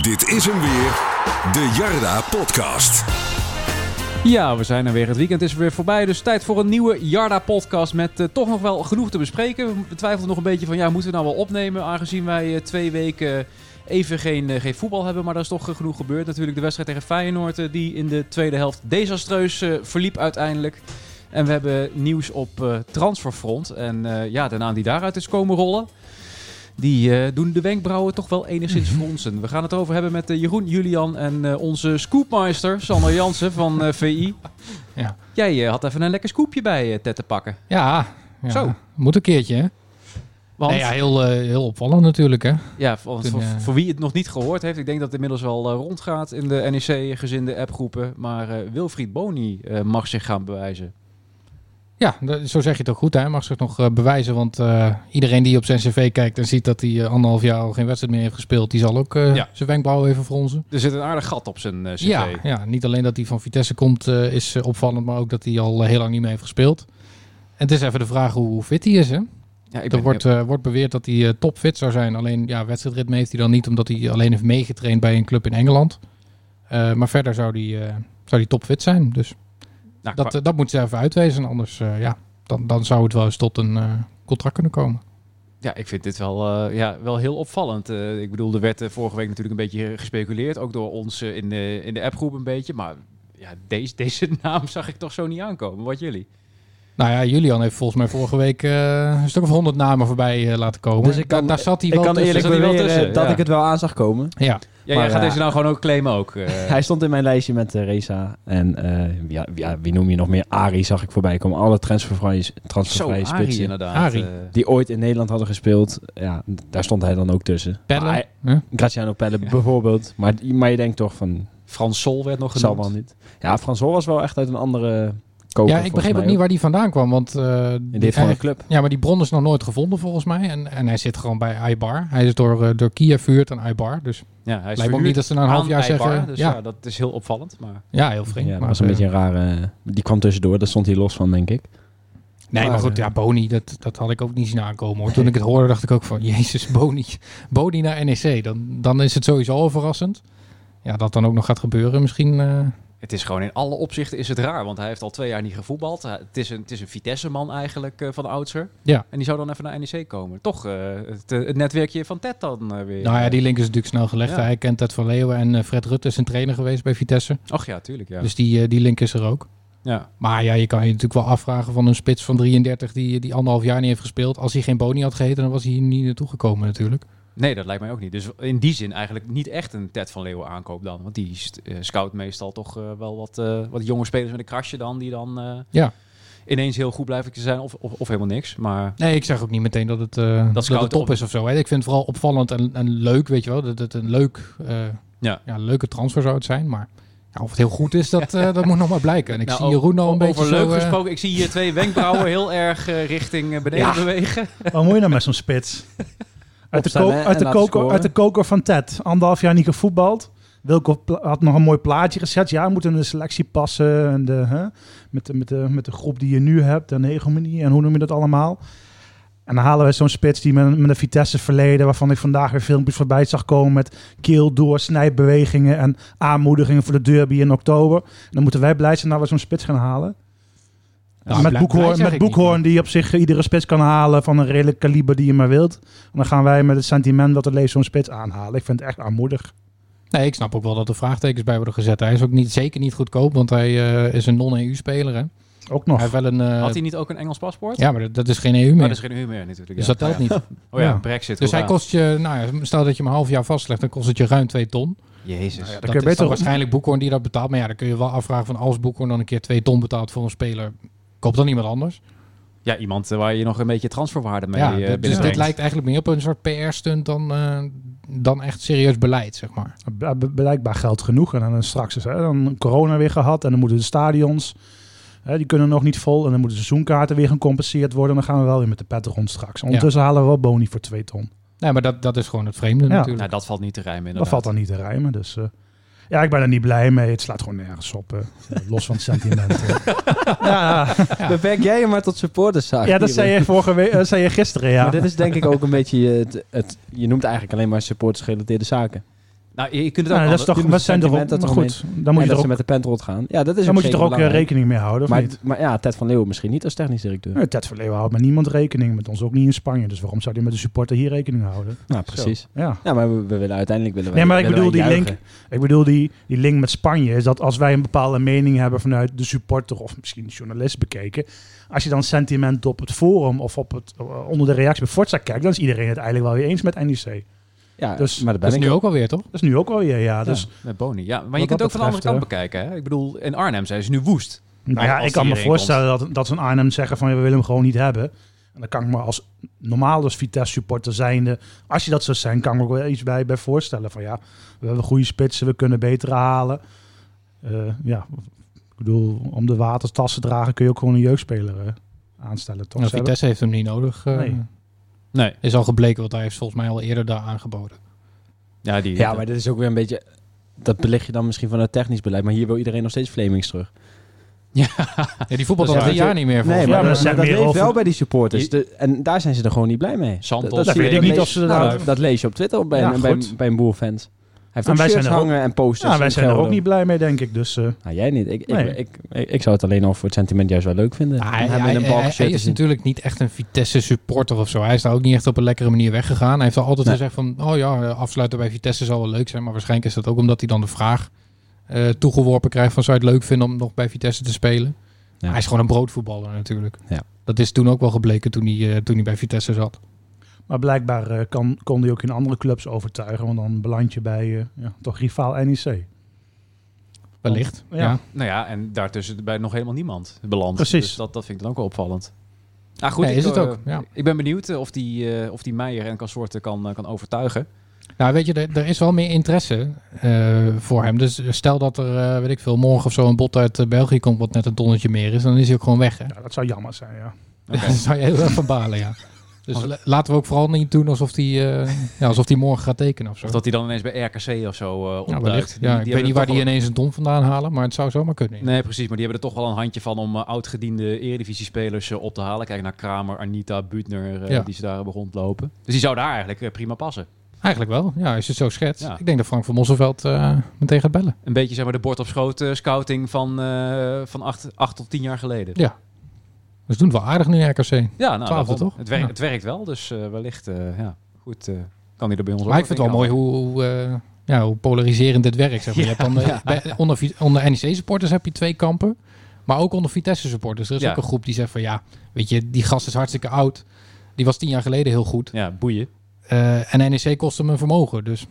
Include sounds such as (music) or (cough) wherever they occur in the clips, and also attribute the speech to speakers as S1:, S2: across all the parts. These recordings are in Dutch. S1: Dit is hem weer, de Jarda Podcast.
S2: Ja, we zijn er weer. Het weekend is weer voorbij. Dus tijd voor een nieuwe Jarda-podcast met eh, toch nog wel genoeg te bespreken. We twijfelden nog een beetje van, ja, moeten we nou wel opnemen? Aangezien wij eh, twee weken even geen, eh, geen voetbal hebben. Maar daar is toch eh, genoeg gebeurd. Natuurlijk de wedstrijd tegen Feyenoord, eh, die in de tweede helft desastreus eh, verliep uiteindelijk. En we hebben nieuws op eh, transferfront. En eh, ja, de naam die daaruit is komen rollen. Die eh, doen de wenkbrauwen toch wel enigszins fronsen. We gaan het over hebben met eh, Jeroen Julian en eh, onze scoopmeister Sander Jansen van eh, VI.
S3: Ja.
S2: Jij eh, had even een lekker scoopje bij eh, Ted te pakken.
S3: Ja, ja.
S2: Zo.
S3: Moet een keertje, hè?
S2: Want
S3: Nee, ja, heel, eh, heel opvallend natuurlijk, hè?
S2: ja, want
S3: toen,
S2: voor,
S3: eh,
S2: voor wie het nog niet gehoord heeft, ik denk dat het inmiddels wel eh, rondgaat in de NEC-gezinde appgroepen. Maar eh, Wilfried Boni eh, mag zich gaan bewijzen.
S3: Ja, dat- zo zeg je het ook goed, hè? Mag zich nog eh, bewijzen, want eh, iedereen die op zijn cv kijkt en ziet dat hij eh, anderhalf jaar al geen wedstrijd meer heeft gespeeld, die zal ook eh,
S2: Ja.
S3: zijn wenkbrauwen even fronsen.
S2: Er zit een aardig gat op zijn eh cv.
S3: Ja, ja, niet alleen dat hij van Vitesse komt eh, is eh, opvallend, maar ook dat hij al eh, heel lang niet meer heeft gespeeld. En het is even de vraag hoe, hoe fit hij is, hè?
S2: Ja, ik
S3: Er
S2: ben-
S3: wordt, eh, wordt beweerd dat hij eh, topfit zou zijn. Alleen ja, wedstrijdritme heeft hij dan niet, omdat hij alleen heeft meegetraind bij een club in Engeland. Eh, maar verder zou hij, eh, zou hij topfit zijn. Dus
S2: nou,
S3: dat, eh, dat moet ze even uitwezen. Anders eh, ja, dan, dan zou het wel eens tot een eh, contract kunnen komen.
S2: Ja, ik vind dit wel, eh, ja, wel heel opvallend. Eh, ik bedoel, er werd eh, vorige week natuurlijk een beetje gespeculeerd. Ook door ons eh, in, de, in de appgroep een beetje. Maar ja, deze, deze (laughs) naam zag ik toch zo niet aankomen. Wat jullie?
S3: Nou ja, Julian heeft volgens mij vorige week eh, een stuk of honderd namen voorbij eh, laten komen.
S4: Dus ik kan-
S3: daar, daar zat hij
S4: Ik
S3: wel
S4: kan
S3: tussen.
S2: Zat
S4: eerlijk
S2: hij wel
S4: beweren
S2: tussen?
S4: dat
S2: Ja.
S4: ik het wel aan zag komen.
S3: Ja,
S2: Ja, jij
S4: Maar,
S2: gaat
S4: eh,
S2: deze nou gewoon ook claimen ook. eh.
S4: Hij stond in mijn lijstje met eh, Reza. En eh, ja, ja, wie noem je nog meer? Ari zag ik voorbij komen. Alle transfervrije,
S2: zo,
S4: transfervrije
S2: Arie
S4: spitsen.
S2: inderdaad.
S3: Arie.
S2: eh.
S4: Die ooit in Nederland hadden gespeeld. Ja, daar stond hij dan ook tussen.
S3: Pelle.
S4: Maar hij- Oh,
S3: Huh?
S4: Graziano Pelle bijvoorbeeld. Maar, maar je denkt toch van,
S2: Frans Sol werd nog
S4: zal
S2: genoemd.
S4: wel niet. Ja, Fransol was wel echt uit een andere koker.
S3: ja ik begreep ook niet waar die vandaan kwam. Want, eh,
S4: In dit van
S3: hij-
S4: een club.
S3: Ja, maar die bron is nog nooit gevonden volgens mij. En, en hij zit gewoon bij Ibar. Hij is door, eh, door Kia vuurd aan Ibar. Dus
S2: Ja, hij is
S3: lijkt me ook niet dat ze na een half jaar zeggen...
S2: Dus ja.
S3: ja,
S2: dat is heel opvallend. Maar
S3: ja, heel vreemd.
S4: Ja, dat
S3: maar,
S4: was een
S3: eh,
S4: beetje een rare... Die kwam tussendoor, daar stond hij los van, denk ik.
S3: Nee, maar
S4: Maar,
S3: goed,
S4: eh,
S3: ja, Boni, dat, dat had ik ook niet zien aankomen. Hoor. Toen ik het hoorde, dacht ik ook van... Jezus, Boni, Boni naar NEC. Dan, dan is het sowieso al verrassend. Ja, dat dan ook nog gaat gebeuren misschien. eh,
S2: het is gewoon in alle opzichten is het raar. Want hij heeft al twee jaar niet gevoetbald. Hij- Het is een, het is een Vitesse-man eigenlijk eh, van de oudsher.
S3: Ja.
S2: En die zou dan even naar NEC komen. Toch eh, het, eh, het netwerkje van Ted dan eh, weer.
S3: Nou ja, die link is natuurlijk snel gelegd.
S2: Ja.
S3: Hij kent Ted van Leeuwen en eh, Fred Rutte is zijn trainer geweest bij Vitesse.
S2: Ach ja, tuurlijk. Ja.
S3: Dus die, eh, die link is er ook.
S2: ja.
S3: Maar ja, je kan je natuurlijk wel afvragen van een spits van 33 die, die anderhalf jaar niet heeft gespeeld. Als hij geen Boni had geheten, dan was hij hier niet naartoe gekomen natuurlijk.
S2: Nee, dat lijkt mij ook niet. Dus in die zin eigenlijk niet echt een Ted van Leeuwen aankoop dan. Want die st- eh, scout meestal toch eh, wel wat, eh, wat jonge spelers met een krasje dan. Die dan eh,
S3: Ja.
S2: ineens heel goed blijven te zijn of, of, of helemaal niks. Maar
S3: Nee, ik zeg ook niet meteen dat het, eh, dat
S2: scout
S3: het top
S2: op-
S3: is of zo. Hè. Ik vind het vooral opvallend en, en leuk, weet je wel. Dat het een leuk, eh,
S2: Ja.
S3: ja. leuke transfer zou het zijn. Maar ja, of het heel goed is, dat, eh, dat moet nog maar blijken. En ik zie Jeroen al een beetje
S2: Nou, over leuk
S3: zo, eh,
S2: gesproken. Ik zie hier
S3: (laughs)
S2: twee wenkbrauwen heel erg eh, richting eh, beneden
S4: Ja.
S2: bewegen.
S5: Wat moet je nou met zo'n
S4: (laughs)
S5: spits? Uit de,
S4: Opstaan,
S5: ko-
S4: hè, en
S5: uit, de
S4: laten
S5: koker,
S4: scoren.
S5: uit de koker van Ted. Anderhalf jaar niet gevoetbald. Wilco pla- had nog een mooi plaatje gezet. Ja, moet in de selectie passen. En de, hè, met, de, met, de, met de groep die je nu hebt. En de hegemonie. En hoe noem je dat allemaal? En dan halen we zo'n spits die met, een- met een Vitesse verleden... waarvan ik vandaag weer filmpjes voorbij zag komen... met keel door, snijbewegingen en aanmoedigingen voor de derby in oktober. En dan moeten wij blij zijn dat we zo'n spits gaan halen.
S3: nou,
S5: met
S3: blij- blij
S5: Boekhoorn,
S3: zeg
S5: met
S3: ik niet,
S5: Boekhoorn die op zich eh, iedere spits kan halen van een redelijk kaliber die je maar wilt. En dan gaan wij met het sentiment dat er leeft zo'n spits aanhalen. Ik vind het echt aanmoedig.
S3: maar- Nee, ik snap ook wel dat er vraagtekens bij worden gezet. Hij is ook niet, zeker niet goedkoop, want hij eh, is een non-EU-speler. Hij
S5: Ook nog.
S3: heeft wel een... eh,
S2: Had hij niet ook een Engels paspoort?
S3: ja, maar dat, dat is geen EU meer.
S2: Maar dat is geen humeur natuurlijk.
S3: dus
S2: ja.
S3: dat telt
S2: Oh
S3: niet.
S2: ja. Oh ja,
S5: Ja.
S2: Brexit.
S3: Dus hij
S2: hoera.
S3: kost je, nou ja, stel dat je hem een half jaar vastlegt, dan kost het je ruim 2 ton.
S2: Jezus.
S5: Dan
S3: dat
S5: kun je
S3: is
S5: beter
S3: dan
S5: op-
S3: waarschijnlijk Boekhorn die dat betaalt. Maar ja, dan kun je wel afvragen van als Boekhorn dan een keer 2 ton betaalt voor een speler, koopt dan iemand anders.
S2: Ja, iemand eh, waar je nog een beetje transferwaarde mee
S3: ja,
S2: eh,
S3: d- dus dit
S2: binnenbrengt.
S3: lijkt eigenlijk meer op een soort PR-stunt dan, eh, dan echt serieus beleid, zeg maar.
S5: eh, Be- be- Blijkbaar geld genoeg. En dan eh, straks is hè, dan corona weer gehad. En dan moeten de stadions, hè, die kunnen nog niet vol. En dan moeten de seizoenkaarten weer gecompenseerd worden. En dan gaan we wel weer met de pet rond straks. Ondertussen halen we wel boni voor twee ton.
S3: Nee, maar dat, dat is gewoon het vreemde
S5: Ja.
S3: natuurlijk.
S2: Nou, dat valt niet te rijmen inderdaad.
S5: Dat valt dan niet te rijmen. Dus eh, ja, ik ben er niet blij mee. Het slaat gewoon nergens op. eh. los van het sentiment. eh. ja, ja.
S4: Beperk jij je maar tot supporterszaak.
S5: ja, dat zei je, vorige week, eh, zei je gisteren, ja.
S4: Maar dit is denk ik ook een beetje, eh, het, het, je noemt eigenlijk alleen maar supporters gerelateerde zaken.
S2: Nou, je kunt het ook
S5: Nou, dat, is
S2: anders-
S5: toch,
S4: die
S5: dat zijn toch
S4: sentimenten
S5: maar
S4: toch
S5: goed. Dan moet
S4: en dat
S5: je er
S4: ze
S5: ook,
S4: met de pent rond gaan. Ja, dat is
S5: dan
S4: op
S5: moet je
S4: zich
S5: er ook eh,
S4: belangrijk.
S5: rekening mee houden, of
S4: maar,
S5: niet?
S4: maar ja, Ted van Leeuwen misschien niet als technisch directeur.
S5: Nou, Ted van Leeuwen houdt met niemand rekening, met ons ook niet in Spanje. Dus waarom zou hij met de supporter hier rekening houden?
S4: nou, precies.
S5: Ja.
S4: Ja, maar we, we willen uiteindelijk willen wij-
S5: Nee, maar ik
S4: willen wij
S5: bedoel, die
S4: juichen.
S5: link, ik bedoel die, die link met Spanje is dat als wij een bepaalde mening hebben vanuit de supporter of misschien de journalist bekeken, als je dan sentiment op het forum of op het, eh, onder de reactie bij Forza kijkt, dan is iedereen het eigenlijk wel weer eens met NEC. Dat
S4: Ja,
S5: dus-
S4: maar dat ben
S3: Dat is
S4: ik
S3: nu ook alweer, toch?
S5: is nu ook wel weer, ja. Dus,
S2: Met Boni, ja. Maar je
S5: Wat
S2: kunt
S5: dat
S2: ook van de andere kant
S5: betreft,
S2: bekijken. Hè? Ik bedoel, in Arnhem zijn ze nu woest.
S5: Nou ja,
S2: Als
S5: ik kan
S2: die
S5: me
S2: erin
S5: voorstellen dat, dat ze een Arnhem zeggen van ja, we willen hem gewoon niet hebben. En dan kan ik me als normaal als Vitesse supporter zijnde, als je dat zou zijn, kan ik me ook wel iets bij, bij voorstellen. Van ja, we hebben goede spitsen, we kunnen betere halen. Eh, ja, ik bedoel, om de watertas te dragen kun je ook gewoon een jeugdspeler eh, aanstellen. Toch?
S3: Nou,
S5: Ze hebben-
S3: Vitesse heeft hem niet nodig. eh,
S5: Nee.
S2: Nee.
S3: Is al gebleken, want hij heeft volgens mij al eerder daar aangeboden.
S2: Ja, die,
S4: Ja, maar dat is ook weer een beetje... Dat belicht je dan misschien van het technisch beleid. Maar hier wil iedereen nog steeds Flemings terug.
S3: Ja, die voetbal
S2: Dat
S3: al
S2: is
S3: drie
S2: echt-
S3: jaar niet meer. volgens
S5: maar
S3: mij.
S5: dat
S3: Ja,
S5: is echt
S4: dat
S5: meer
S4: leeft
S5: over-
S4: wel bij die supporters.
S2: Je-
S4: De- en daar zijn ze er gewoon niet blij mee.
S2: Santos,
S4: Dat- dat
S5: weet
S4: zie je-
S5: ik niet of ze
S4: Nou,
S5: daar-
S4: dat- Dat lees je op Twitter op bij,
S5: Ja,
S4: bij,
S5: goed.
S4: bij een boel fans. Hij heeft Nou,
S5: En
S4: ook
S5: wij zijn
S4: shirts
S5: er ook-
S4: hangen en posters.
S5: ja, wij
S4: en
S5: zijn er ook
S4: gelden.
S5: niet blij mee, denk ik. Dus eh,
S4: Nou, jij niet. Ik,
S5: Nee.
S4: ik, ik, ik, ik zou het alleen al voor het sentiment juist wel leuk vinden.
S3: Ah,
S4: Om
S3: hij,
S4: hem
S3: hij-
S4: in een
S3: hij- hij
S4: balkenshirt te
S3: is
S4: zien.
S3: natuurlijk niet echt een Vitesse supporter of zo. Hij is daar ook niet echt op een lekkere manier weggegaan. Hij heeft al altijd
S4: Nee.
S3: gezegd van, oh ja, afsluiten bij Vitesse zal wel leuk zijn. Maar waarschijnlijk is dat ook omdat hij dan de vraag eh, toegeworpen krijgt van, zou je het leuk vinden om nog bij Vitesse te spelen?
S4: Ja.
S3: Hij is gewoon een broodvoetballer natuurlijk.
S4: Ja.
S3: Dat is toen ook wel gebleken toen hij, eh, toen hij bij Vitesse zat.
S5: maar blijkbaar eh, kan, kon hij ook in andere clubs overtuigen, want dan beland je bij eh, ja, toch rivaal NEC.
S3: Wellicht.
S5: Ja.
S3: Ja.
S2: Nou ja, en daartussen bij nog helemaal niemand belandt.
S5: Precies.
S2: Dus dat, dat vind ik dan ook wel opvallend. Ah, goed,
S3: Nee,
S2: ik,
S3: is het
S2: eh,
S3: ook, ja.
S2: ik ben benieuwd eh, of die, eh, of die Meijer en Consorten kan, eh, kan overtuigen.
S3: Nou, weet je, er, er is wel meer interesse eh, voor hem. Dus stel dat er, eh, weet ik veel, morgen of zo een bot uit eh, België komt wat net een tonnetje meer is. Dan is hij ook gewoon weg, hè?
S5: Ja, dat zou jammer zijn, ja.
S2: Oké.
S3: (laughs)
S2: Oh.
S3: Dat zou je heel erg van balen, ja. Dus la- laten we ook vooral niet doen alsof hij ja, alsof die morgen gaat tekenen of zo.
S2: of dat hij dan ineens bij RKC of zo eh
S3: ja,
S2: opduikt.
S3: wellicht.
S2: Die-
S3: Ja,
S2: die
S3: ik
S2: hebben
S3: weet niet
S2: er
S3: waar
S2: toch
S3: die
S2: wel-
S3: ineens een don vandaan halen, maar het zou zomaar kunnen.
S2: Nee, precies. Maar die hebben er toch wel een handje van om eh, oud-gediende eredivisiespelers eh, op te halen. Kijk naar Kramer, Anita, Butner, eh,
S3: Ja.
S2: die ze daar hebben rondlopen. Dus die zou daar eigenlijk eh, prima passen.
S3: Eigenlijk wel, ja, als je het zo schetst.
S2: Ja.
S3: Ik denk dat Frank van Mosselveld eh, meteen gaat bellen.
S2: Een beetje zeg maar de bord op schoot eh, scouting van, eh, van acht, acht tot tien jaar geleden.
S3: Dus doen het wel aardig nu RKC.
S2: Ja, nou,
S3: Twaalfde,
S2: daarom.
S3: toch?
S2: Het werkt,
S3: Ja.
S2: het werkt wel, dus eh, wellicht, eh, ja, goed, eh, kan hij er bij ons
S3: Maar ik
S2: ook
S3: vind het
S2: wat
S3: wel mooi
S2: in
S3: hoe, hoe, eh, ja, hoe polariserend dit werkt. Zeg maar. je hebt dan,
S2: (laughs)
S3: eh, bij- onder, Vi- onder NEC-supporters heb je twee kampen, maar ook onder Vitesse-supporters. Er is
S2: Ja.
S3: ook een groep die zegt van ja, weet je, die gast is hartstikke oud. Die was tien jaar geleden heel goed.
S2: kan. Ja, boeien.
S3: Eh, en NEC kost hem een vermogen, dus...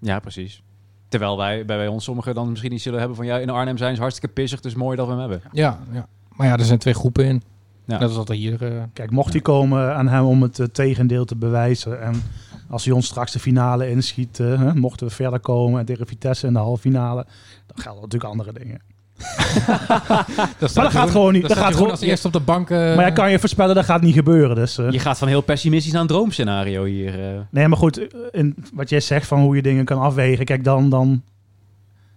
S2: Ja, precies. Terwijl wij bij, bij ons sommigen dan misschien iets zullen hebben van... ja, in Arnhem zijn ze hartstikke pissig, dus mooi dat we hem hebben.
S3: Ja, ja. maar ja, er zijn twee groepen in.
S2: Ja.
S3: Dat is wat er hier. eh,
S5: Kijk, mocht hij komen aan hem om het eh, tegendeel te bewijzen. En als hij ons straks de finale inschiet, eh, hè, mochten we verder komen en tegen Vitesse in de halve finale, dan gelden natuurlijk andere dingen.
S3: dat
S5: gaat gewoon niet. Dat gaat gewoon-
S3: als eerst op de bank. eh,
S5: maar ja, kan je voorspellen, dat gaat niet gebeuren. Dus, eh.
S2: Je gaat van heel pessimistisch naar een droomscenario hier. eh.
S5: Nee, maar goed, eh, in wat jij zegt van hoe je dingen kan afwegen. Kijk, dan, dan,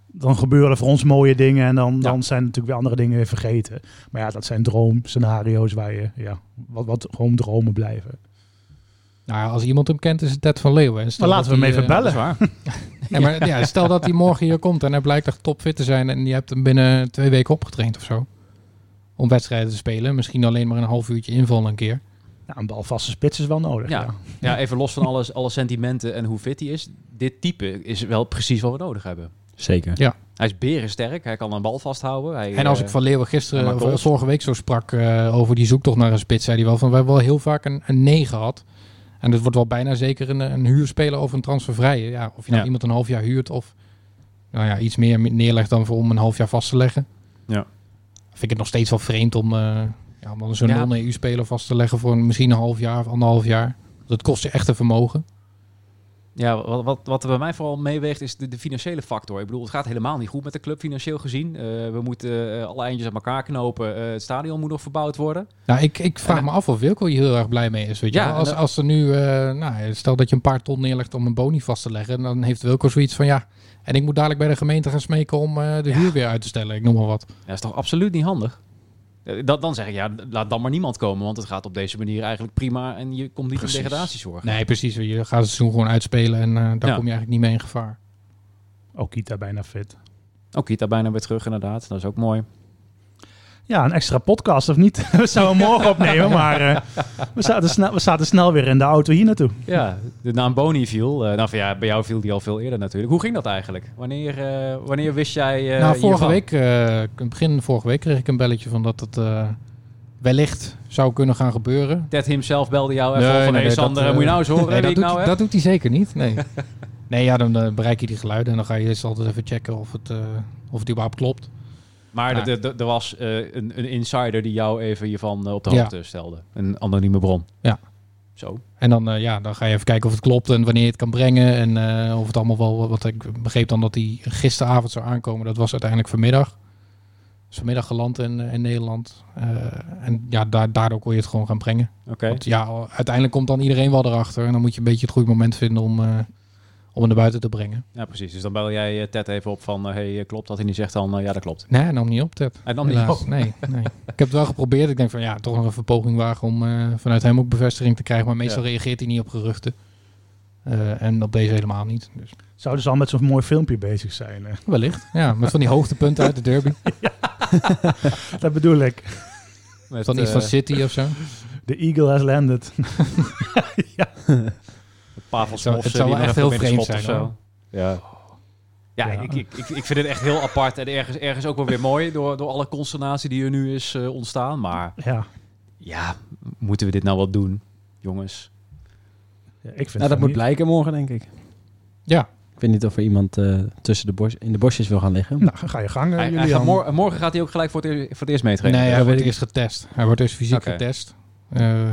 S5: dan gebeuren er voor ons mooie dingen en dan, dan zijn natuurlijk weer andere dingen weer vergeten. Maar ja, dat zijn droomscenario's waar je, ja, wat, wat gewoon dromen blijven.
S3: Nou, ja, als iemand hem kent, is het Ted van Leeuwen. En stel
S5: Maar laten we
S3: dat
S5: hem
S3: hij,
S5: even
S3: eh,
S5: bellen.
S3: (laughs) ja, maar, ja, stel dat hij morgen hier komt en hij blijkt echt topfit te zijn. En je hebt hem binnen twee weken opgetraind of zo. Om wedstrijden te spelen. Misschien alleen maar een half uurtje invallen een keer.
S5: Nou, een balvaste spits is wel nodig.
S2: Ja.
S5: ja.
S2: Ja, even los van alles, alle sentimenten en hoe fit hij is. Dit type is wel precies wat we nodig hebben.
S4: Zeker.
S2: Hij is berensterk, hij kan een bal vasthouden. Hij,
S3: En als
S2: eh,
S3: ik van Leeuwen
S2: hij
S3: gisteren
S2: maakt
S3: of
S2: goals.
S3: vorige week zo sprak eh, over die zoektocht naar een spits, zei hij wel van we hebben wel heel vaak een, een 9 gehad. En dat wordt wel bijna zeker een, een huurspeler of een transfervrije. Ja, of je nou
S2: Ja.
S3: iemand een half jaar huurt of nou ja, iets meer neerlegt dan voor om een half jaar vast te leggen.
S2: Ja.
S3: Vind ik het nog steeds wel vreemd om, eh, ja, om dan zo'n
S2: Ja.
S3: non-EU-speler vast te leggen voor een- misschien een half jaar of anderhalf jaar. Dat kost je echt een vermogen.
S2: Ja, wat, wat, wat er bij mij vooral meeweegt is de, de financiële factor. Ik bedoel, het gaat helemaal niet goed met de club financieel gezien. Eh, we moeten eh, alle eindjes aan elkaar knopen. Eh, het stadion moet nog verbouwd worden.
S3: Nou, ik, ik vraag
S2: En-
S3: me af of Wilco hier heel erg blij mee is. Weet je?
S2: Ja,
S3: wel.
S2: en
S3: als,
S2: dat-
S3: als er nu, eh, nou, stel dat je een paar ton neerlegt om een boni vast te leggen, dan heeft Wilco zoiets van ja. En ik moet dadelijk bij de gemeente gaan smeken om eh, de huur weer uit te stellen. Ik noem maar wat.
S2: Ja, dat is toch absoluut niet handig? Eh, Dat, dan zeg ik, ja, laat dan maar niemand komen. Want het gaat op deze manier eigenlijk prima. En je komt niet
S3: Precies.
S2: in degradatiezorg.
S3: Nee, precies. Je gaat het seizoen gewoon uitspelen en eh, daar
S2: Ja.
S3: kom je eigenlijk niet mee in gevaar.
S5: Ook Kita bijna fit.
S3: Nou,
S2: Ook Kita bijna weer terug, inderdaad. Dat is ook mooi.
S5: Ja, een extra podcast of niet? (laughs) We zouden hem morgen opnemen, maar eh, we, zaten snel, we zaten snel weer in de auto hier naartoe.
S2: Ja, de naam Boni viel. eh, nou, van ja, bij jou viel die al veel eerder natuurlijk. Hoe ging dat eigenlijk? Wanneer, eh, wanneer wist jij. eh,
S3: nou, vorige
S2: hiervan?
S3: week, eh, begin vorige week kreeg ik een belletje van dat het eh, wellicht zou kunnen gaan gebeuren.
S2: Ted himself belde jou even
S3: Nee,
S2: op van
S3: nee,
S2: hey,
S3: dat,
S2: Sander,
S3: eh,
S2: moet je nou eens horen
S3: Nee,
S2: wie
S3: dat,
S2: ik
S3: doet,
S2: nou heb?
S3: dat doet hij zeker niet. Nee,
S2: (laughs)
S3: nee ja, dan eh, bereik je die geluiden en dan ga je eerst altijd even checken of het, eh, of het überhaupt klopt.
S2: Maar
S3: Ja.
S2: er- er- er was eh, een, een insider die jou even hiervan eh, op de
S3: Ja.
S2: hoogte stelde. Een anonieme bron.
S3: Ja.
S2: Zo.
S3: En dan, eh, ja, dan ga je even kijken of het klopt en wanneer je het kan brengen. En eh, of het allemaal wel. Wat ik begreep dan dat die gisteravond zou aankomen. Dat was uiteindelijk vanmiddag. Dus vanmiddag geland in, eh, in Nederland. Eh, en ja, daar, daardoor kon je het gewoon gaan brengen.
S2: Oké.
S3: Want ja, uiteindelijk komt dan iedereen wel erachter. En dan moet je een beetje het goede moment vinden om, eh, om het naar buiten te brengen.
S2: Ja, precies. Dus dan bel jij eh, Ted even op van, eh, hey, eh, klopt dat? En die zegt dan, eh, ja, dat klopt.
S3: Nee, hij nam niet op, Ted.
S2: Hij nam niet
S3: Helaas.
S2: op.
S3: Nee, nee. (laughs) Ik heb het wel geprobeerd. Ik denk van ja, toch nog even poging wagen om eh, vanuit hem ook bevestiging te krijgen. Maar meestal reageert hij niet op geruchten. Eh, en op deze helemaal niet. Dus
S5: Zouden ze al met zo'n mooi filmpje bezig zijn? eh? (laughs)
S3: wellicht. Ja, met van die hoogtepunten uit de
S2: (laughs)
S3: derby.
S5: Dat bedoel ik.
S2: (laughs) Met,
S3: Van iets
S2: eh,
S3: van City of zo.
S5: The Eagle has landed.
S2: Pavel
S3: Het zou-
S2: Smofs,
S3: het
S2: eh,
S3: zou
S2: die
S3: wel
S2: nog
S3: echt
S2: even
S3: heel
S2: binnen
S3: vreemd
S2: schopt
S3: zijn,
S2: of zo. Ja. Ja,
S5: Ja.
S2: Ik, ik, ik, ik vind het echt heel apart en ergens, ergens ook wel weer mooi door, door alle consternatie die er nu is eh, ontstaan. Maar
S5: Ja,
S2: ja, m- moeten we dit nou wel doen, jongens?
S5: Ja, ik vind
S4: Nou, dat
S5: van
S4: moet
S5: niet.
S4: blijken morgen, denk ik.
S3: Ja,
S4: Ik weet niet of er iemand eh, tussen de bos in de bosjes wil gaan liggen.
S5: Nou, ga- ga je gang, eh,
S2: Hij, hij
S5: Julian.
S2: gaat mor- morgen gaat hij ook gelijk voor het, eer- voor het eerst Dus meetrainen.
S3: nee,
S2: Ja,
S3: hij
S2: voor
S3: wordt
S2: het
S3: eerst getest. Hij wordt eerst fysiek
S2: Oké.
S3: getest. Eh,